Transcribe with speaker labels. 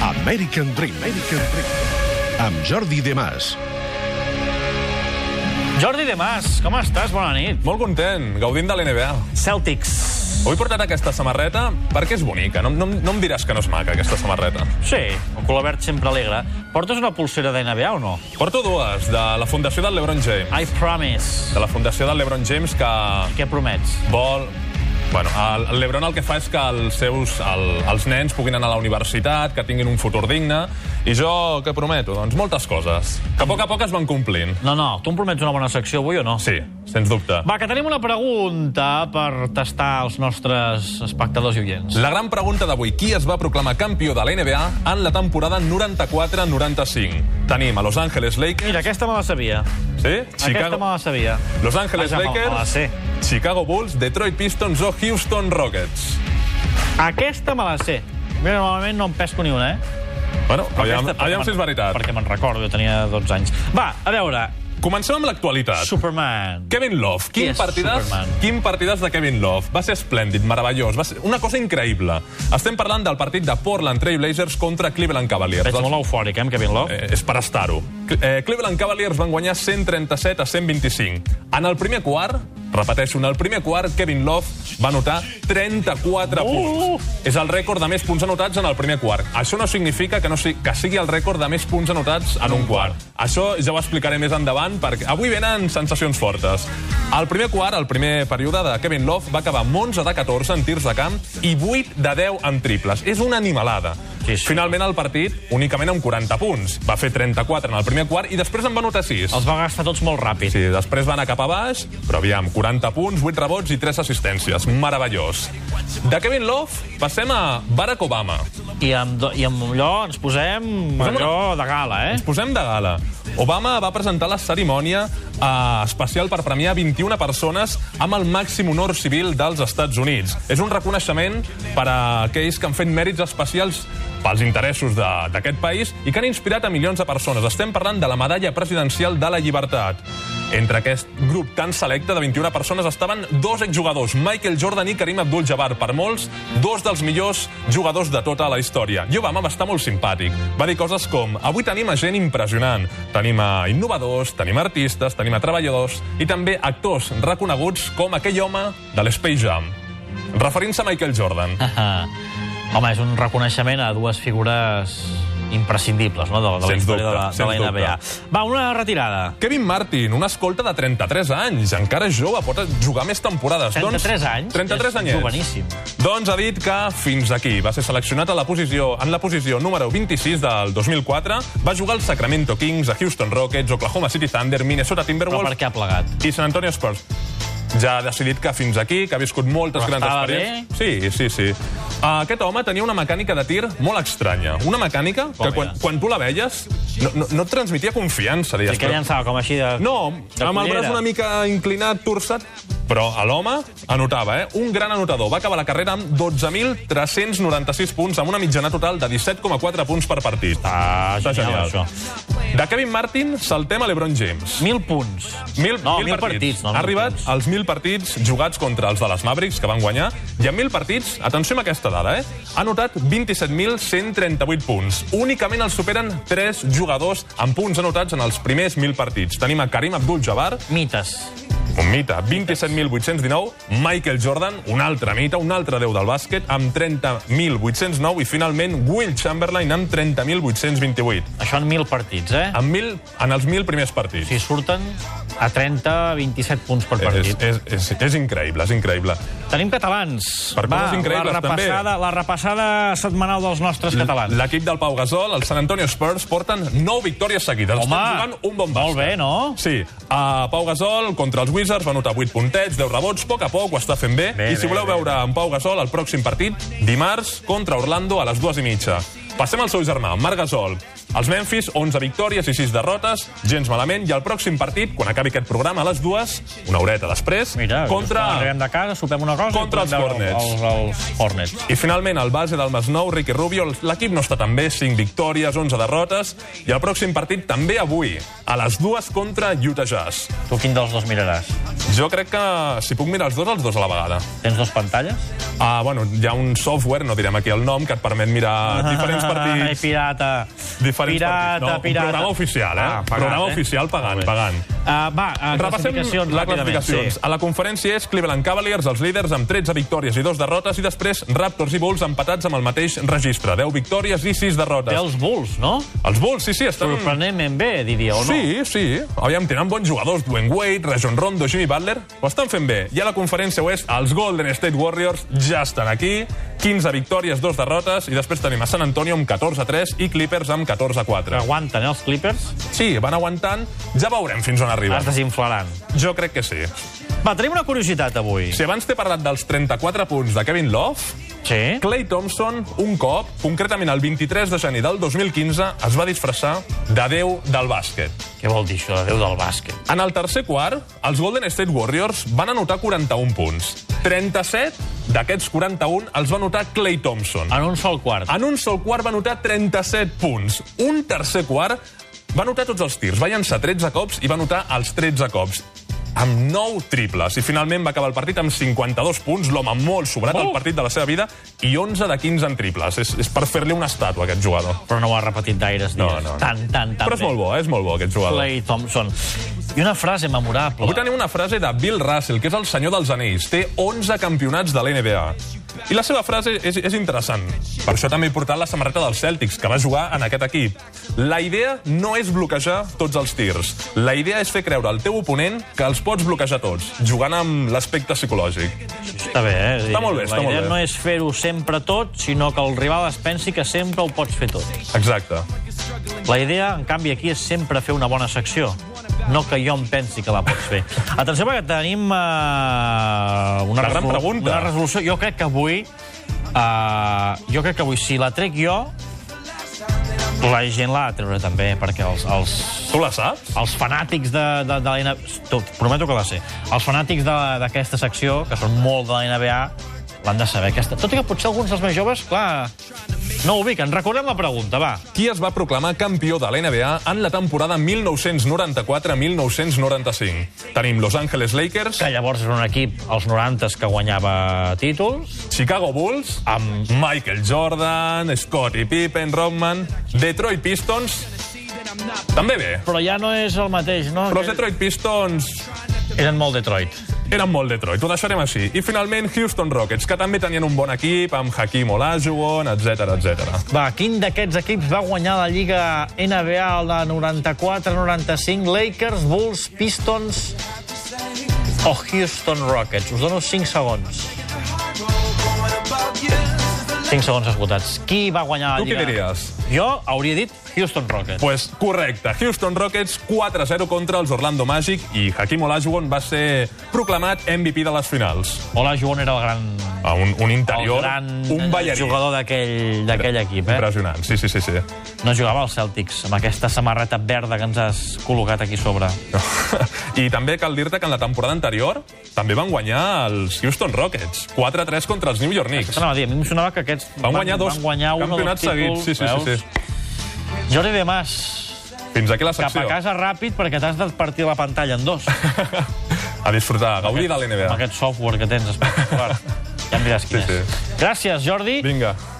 Speaker 1: American Dream. American Dream. Amb Jordi Demàs.
Speaker 2: Jordi de Mas, com estàs? Bona nit.
Speaker 3: Molt content, gaudint de l'NBA.
Speaker 2: Celtics.
Speaker 3: Ho he portat aquesta samarreta perquè és bonica. No, no, no em diràs que no és maca, aquesta samarreta.
Speaker 2: Sí, el color verd sempre alegra. Portes una pulsera de NBA o no?
Speaker 3: Porto dues, de la fundació del LeBron James.
Speaker 2: I promise.
Speaker 3: De la fundació del LeBron James que
Speaker 2: Què promets?
Speaker 3: vol... Bueno, el el LeBron el que fa és que els seus, el, els nens puguin anar a la universitat, que tinguin un futur digne, i jo què prometo? Doncs moltes coses, que a poc a poc es van complint.
Speaker 2: No, no, tu em promets una bona secció avui o no?
Speaker 3: Sí, sens dubte.
Speaker 2: Va, que tenim una pregunta per tastar els nostres espectadors i oients.
Speaker 3: La gran pregunta d'avui, qui es va proclamar campió de la NBA en la temporada 94-95? Tenim a Los Angeles Lakers...
Speaker 2: Mira, aquesta me la sabia.
Speaker 3: Sí?
Speaker 2: Aquesta me
Speaker 3: Chicago...
Speaker 2: la sabia.
Speaker 3: Los Angeles
Speaker 2: Vaja, me-
Speaker 3: Lakers...
Speaker 2: me la sé.
Speaker 3: Chicago Bulls, Detroit Pistons o Houston Rockets.
Speaker 2: Aquesta me la sé. Mira, normalment no em pesco ni una, eh?
Speaker 3: Bueno, aviam,
Speaker 2: Aquesta, perquè
Speaker 3: aviam
Speaker 2: me'n-
Speaker 3: si és veritat.
Speaker 2: Perquè me'n recordo, jo tenia 12 anys. Va, a veure,
Speaker 3: Comencem amb l'actualitat.
Speaker 2: Superman.
Speaker 3: Kevin Love.
Speaker 2: Qui
Speaker 3: Quin
Speaker 2: és
Speaker 3: partidàs,
Speaker 2: Superman?
Speaker 3: quin partidàs de Kevin Love. Va ser esplèndid, meravellós. Va ser una cosa increïble. Estem parlant del partit de Portland Trail Blazers contra Cleveland Cavaliers. Doncs
Speaker 2: Veig
Speaker 3: Els-
Speaker 2: molt eufòric, eh, amb Kevin Love.
Speaker 3: Eh, és per estar-ho. Cl- Eh, Cleveland Cavaliers van guanyar 137 a 125. En el primer quart, repeteixo, en el primer quart, Kevin Love va anotar 34 punts. És el rècord de més punts anotats en el primer quart. Això no significa que, no sigui, que sigui el rècord de més punts anotats en un quart. Això ja ho explicaré més endavant, perquè avui venen sensacions fortes. El primer quart, el primer període de Kevin Love, va acabar amb 11 de 14 en tirs de camp i 8 de 10 en triples. És una animalada.
Speaker 2: Sí, sí.
Speaker 3: Finalment, el partit, únicament amb 40 punts. Va fer 34 en el primer quart i després en va anotar 6.
Speaker 2: Els va gastar tots molt ràpid.
Speaker 3: Sí, després va anar cap a baix, però aviam, 40 punts, 8 rebots i 3 assistències. Meravellós. De Kevin Love passem a Barack Obama.
Speaker 2: I amb, do- I amb allò ens posem
Speaker 3: Posem una-
Speaker 2: allò de gala, eh?
Speaker 3: Ens posem de gala. Obama va presentar la cerimònia eh, especial per premiar 21 persones amb el màxim honor civil dels Estats Units. És un reconeixement per a aquells que han fet mèrits especials pels interessos de- d'aquest país i que han inspirat a milions de persones. Estem parlant de la medalla presidencial de la llibertat. Entre aquest grup tan selecte de 21 persones estaven dos exjugadors, Michael Jordan i Karim Abdul-Jabbar, per molts, dos dels millors jugadors de tota la història. I Obama va estar molt simpàtic. Va dir coses com, avui tenim a gent impressionant, tenim a innovadors, tenim a artistes, tenim a treballadors i també actors reconeguts com aquell home de l'Space Jam. Referint-se a Michael Jordan.
Speaker 2: Ah, Home, és un reconeixement a dues figures imprescindibles, no?, de, de la
Speaker 3: Sens
Speaker 2: història
Speaker 3: dubte,
Speaker 2: de, la,
Speaker 3: sens Doncs
Speaker 2: de la NBA. Va, una retirada.
Speaker 3: Kevin Martin, una escolta de 33 anys, encara és jove, pot jugar més temporades. Doncs,
Speaker 2: 33 anys?
Speaker 3: 33
Speaker 2: És
Speaker 3: anys.
Speaker 2: joveníssim.
Speaker 3: Doncs ha dit que fins aquí. Va ser seleccionat a la posició, en la posició número 26 del 2004. Va jugar als Sacramento Kings, a Houston Rockets, Oklahoma City Thunder, Minnesota
Speaker 2: Però
Speaker 3: Timberwolves
Speaker 2: per què ha plegat?
Speaker 3: i San Antonio Spurs. Ja ha decidit que fins aquí, que ha viscut moltes
Speaker 2: Però
Speaker 3: grans
Speaker 2: estava
Speaker 3: experiències. Sí, sí, sí. Uh, aquest home tenia una mecànica de tir molt estranya. Una mecànica que
Speaker 2: Com
Speaker 3: quan,
Speaker 2: era?
Speaker 3: quan tu la veies no, no, no et transmetia confiança. Deies,
Speaker 2: I que
Speaker 3: "Però-
Speaker 2: llançava com així de...
Speaker 3: no,
Speaker 2: de
Speaker 3: amb el
Speaker 2: cullera.
Speaker 3: braç una mica inclinat, torçat, però a l'home anotava, eh? Un gran anotador. Va acabar la carrera amb 12.396 punts, amb una mitjana total de 17,4 punts per partit.
Speaker 2: Ah,
Speaker 3: Està
Speaker 2: genial,
Speaker 3: genial. De Kevin Martin saltem a LeBron James.
Speaker 2: Mil punts.
Speaker 3: Mil,
Speaker 2: no, mil, partits. no,
Speaker 3: ha
Speaker 2: mil
Speaker 3: arribat
Speaker 2: punts.
Speaker 3: als 1.000 partits jugats contra els de les Mavericks, que van guanyar, i en 1.000 partits, atenció amb aquesta dada, eh? ha anotat 27.138 punts. Únicament els superen 3 jugadors amb punts anotats en els primers 1.000 partits. Tenim a Karim Abdul-Jabbar,
Speaker 2: Mites.
Speaker 3: un mite, 27.819, Michael Jordan, un altre mite, un altre déu del bàsquet, amb 30.809 i finalment Will Chamberlain amb 30.828.
Speaker 2: Això en mil partits, eh?
Speaker 3: En, mil, en els 1.000 primers partits.
Speaker 2: Si surten a 30, 27 punts per
Speaker 3: és,
Speaker 2: partit.
Speaker 3: és, és, és increïble, és increïble.
Speaker 2: Tenim catalans.
Speaker 3: Per coses increïbles,
Speaker 2: la repassada,
Speaker 3: també.
Speaker 2: La repassada setmanal dels nostres catalans.
Speaker 3: L'equip del Pau Gasol, el San Antonio Spurs, porten 9 victòries seguides.
Speaker 2: Home,
Speaker 3: Estan jugant un bon bàsquet.
Speaker 2: molt bé, no?
Speaker 3: Sí. Uh, Pau Gasol contra els Wizards va anotar 8 puntets, 10 rebots, poc a poc ho està fent bé.
Speaker 2: Bé,
Speaker 3: I si
Speaker 2: bé,
Speaker 3: voleu
Speaker 2: bé,
Speaker 3: veure en Pau Gasol el pròxim partit, dimarts contra Orlando a les 2 i mitja. Passem al seu germà, Marc Gasol. Els Memphis, 11 victòries i 6 derrotes, gens malament, i el pròxim partit, quan acabi aquest programa, a les 2, una horeta després,
Speaker 2: Mira,
Speaker 3: contra...
Speaker 2: quan arribem de casa, sopem una cosa... i
Speaker 3: contra els
Speaker 2: podem veure
Speaker 3: Hornets.
Speaker 2: Els, els Hornets.
Speaker 3: I finalment, el base del Masnou, Ricky Rubio, l'equip no està tan bé, 5 victòries, 11 derrotes, i el pròxim partit també avui, a les dues contra Utah Jazz.
Speaker 2: Tu quin dels dos miraràs?
Speaker 3: Jo crec que, si puc mirar els dos, els dos a la vegada.
Speaker 2: Tens dos pantalles?
Speaker 3: Ah, bueno, hi ha un software, no direm aquí el nom, que et permet mirar
Speaker 2: Ah,
Speaker 3: diferents
Speaker 2: Ai,
Speaker 3: partits.
Speaker 2: pirata.
Speaker 3: Diferents
Speaker 2: pirata,
Speaker 3: partits. No,
Speaker 2: pirata.
Speaker 3: Un programa oficial, eh?
Speaker 2: Ah, pagat,
Speaker 3: programa
Speaker 2: eh?
Speaker 3: oficial pagant,
Speaker 2: Molt bé.
Speaker 3: pagant.
Speaker 2: Uh, va, uh,
Speaker 3: Repassem
Speaker 2: classificacions,
Speaker 3: les
Speaker 2: ràpidament,
Speaker 3: classificacions.
Speaker 2: Sí.
Speaker 3: A la conferència és Cleveland Cavaliers, els líders, amb 13 victòries i 2 derrotes, i després Raptors i Bulls empatats amb el mateix registre, 10 victòries i 6 derrotes.
Speaker 2: Té els Bulls, no?
Speaker 3: Els Bulls, sí, sí, estan...
Speaker 2: Sorprenentment bé, diria, o no?
Speaker 3: Mm. Sí, sí. Aviam, tenen bons jugadors. Dwayne Wade, Rajon Rondo, Jimmy Butler... Ho estan fent bé. I a la conferència oest, els Golden State Warriors ja estan aquí. 15 victòries, 2 derrotes. I després tenim a San Antonio amb 14-3 i Clippers amb 14-4.
Speaker 2: Aguanten, eh, els Clippers?
Speaker 3: Sí, van aguantant. Ja veurem fins on
Speaker 2: Es
Speaker 3: arriben.
Speaker 2: desinflaran.
Speaker 3: Jo crec que sí.
Speaker 2: Va, tenim una curiositat avui.
Speaker 3: Si abans t'he parlat dels 34 punts de Kevin Love,
Speaker 2: Sí?
Speaker 3: Clay Thompson, un cop, concretament el 23 de gener del 2015, es va disfressar de déu del bàsquet.
Speaker 2: Què vol dir això de Déu del bàsquet?
Speaker 3: En el tercer quart, els Golden State Warriors van anotar 41 punts. 37 d'aquests 41 els va anotar Clay Thompson.
Speaker 2: Ah, En un sol quart.
Speaker 3: En un sol quart va anotar 37 punts. Un tercer quart va anotar tots els tirs. Va llançar 13 cops i va anotar els 13 cops amb 9 triples. I finalment va acabar el partit amb 52 punts, l'home molt sobrat al
Speaker 2: Oh!
Speaker 3: partit de la seva vida, i 11 de 15 en triples. És, és per fer-li una estàtua, aquest jugador.
Speaker 2: Però no ho ha repetit gaires dies.
Speaker 3: No, no, no.
Speaker 2: Tant, tant, tant.
Speaker 3: Però és
Speaker 2: bé.
Speaker 3: molt bo, eh? és molt bo, aquest jugador.
Speaker 2: Clay Thompson. I una frase memorable.
Speaker 3: Avui tenim una frase de Bill Russell, que és el senyor dels anells. Té 11 campionats de l'NBA. I la seva frase és, és interessant. Per això també he portat la samarreta dels Celtics, que va jugar en aquest equip. La idea no és bloquejar tots els tirs. La idea és fer creure al teu oponent que els pots bloquejar tots, jugant amb l'aspecte psicològic.
Speaker 2: Està bé, eh? És a dir,
Speaker 3: Està molt bé, està
Speaker 2: La
Speaker 3: molt
Speaker 2: idea
Speaker 3: bé.
Speaker 2: no és fer-ho sempre tot, sinó que el rival es pensi que sempre ho pots fer tot.
Speaker 3: Exacte.
Speaker 2: La idea, en canvi, aquí és sempre fer una bona secció. No que jo em pensi que la pots fer. Atenció, perquè tenim uh, una,
Speaker 3: Una gran
Speaker 2: resolu-
Speaker 3: pregunta.
Speaker 2: una resolució. Jo crec que avui... Uh, jo crec que avui, si la trec jo, la gent l'ha de treure també, perquè els, els,
Speaker 3: Tu la saps?
Speaker 2: els fanàtics de, de, de la NBA... Prometo que la sé. Els fanàtics de- d'aquesta secció, que són molt de la NBA, l'han de saber. Aquesta. Tot i que potser alguns dels més joves, clar, no ho ubiquen. Recordem la pregunta, va.
Speaker 3: Qui es va proclamar campió de la NBA en la temporada 1994-1995? Tenim Los Angeles Lakers,
Speaker 2: que llavors era un equip als 90 que guanyava títols,
Speaker 3: Chicago Bulls,
Speaker 2: amb
Speaker 3: Michael Jordan, Scottie Pippen, Rodman, Detroit Pistons... També bé,
Speaker 2: però ja no és el mateix, no?
Speaker 3: però els
Speaker 2: Que-
Speaker 3: Detroit Pistons
Speaker 2: Eren molt Detroit.
Speaker 3: eren molt Detroit, ho deixarem així. I finalment Houston Rockets, que també tenien un bon equip, amb Hakim Olajuwon, etc etc.
Speaker 2: Va, quin d'aquests equips va guanyar la Lliga NBA el de 94-95? Lakers, Bulls, Pistons o Houston Rockets? Us dono 5 segons. 5 segons esgotats. Qui va guanyar la
Speaker 3: Tu què
Speaker 2: Lliga?
Speaker 3: diries?
Speaker 2: Jo hauria dit Houston Rockets.
Speaker 3: Pues correcte, Houston Rockets 4-0 contra els Orlando Magic i Hakim Olajuwon va ser proclamat MVP de les finals.
Speaker 2: Hola, Joan era el gran
Speaker 3: Ah, Un, un
Speaker 2: el
Speaker 3: interior,
Speaker 2: gran
Speaker 3: un ballarí.
Speaker 2: jugador eh? d'aquell d'aquell equip, eh?
Speaker 3: Impressionant, sí, sí, sí. sí.
Speaker 2: No jugava als Celtics, amb aquesta samarreta verda que ens has col·locat aquí sobre.
Speaker 3: I també cal dir-te que en la temporada anterior també van guanyar els Houston Rockets. 4-3 contra els New York Knicks.
Speaker 2: Anava a dir, a mi em sonava que aquests
Speaker 3: Van guanyar dos
Speaker 2: van guanyar un o dos
Speaker 3: campionats
Speaker 2: títols,
Speaker 3: seguits. Sí, sí, sí, sí.
Speaker 2: sí. Jordi de Mas,
Speaker 3: Fins aquí la
Speaker 2: cap
Speaker 3: secció.
Speaker 2: a casa ràpid perquè t'has de partir la pantalla en dos.
Speaker 3: A disfrutar, a gaudir de l'NBA.
Speaker 2: Amb aquest software que tens espectacular. Ja em diràs quin
Speaker 3: Sí,
Speaker 2: és. Gràcies, Jordi.
Speaker 3: Vinga.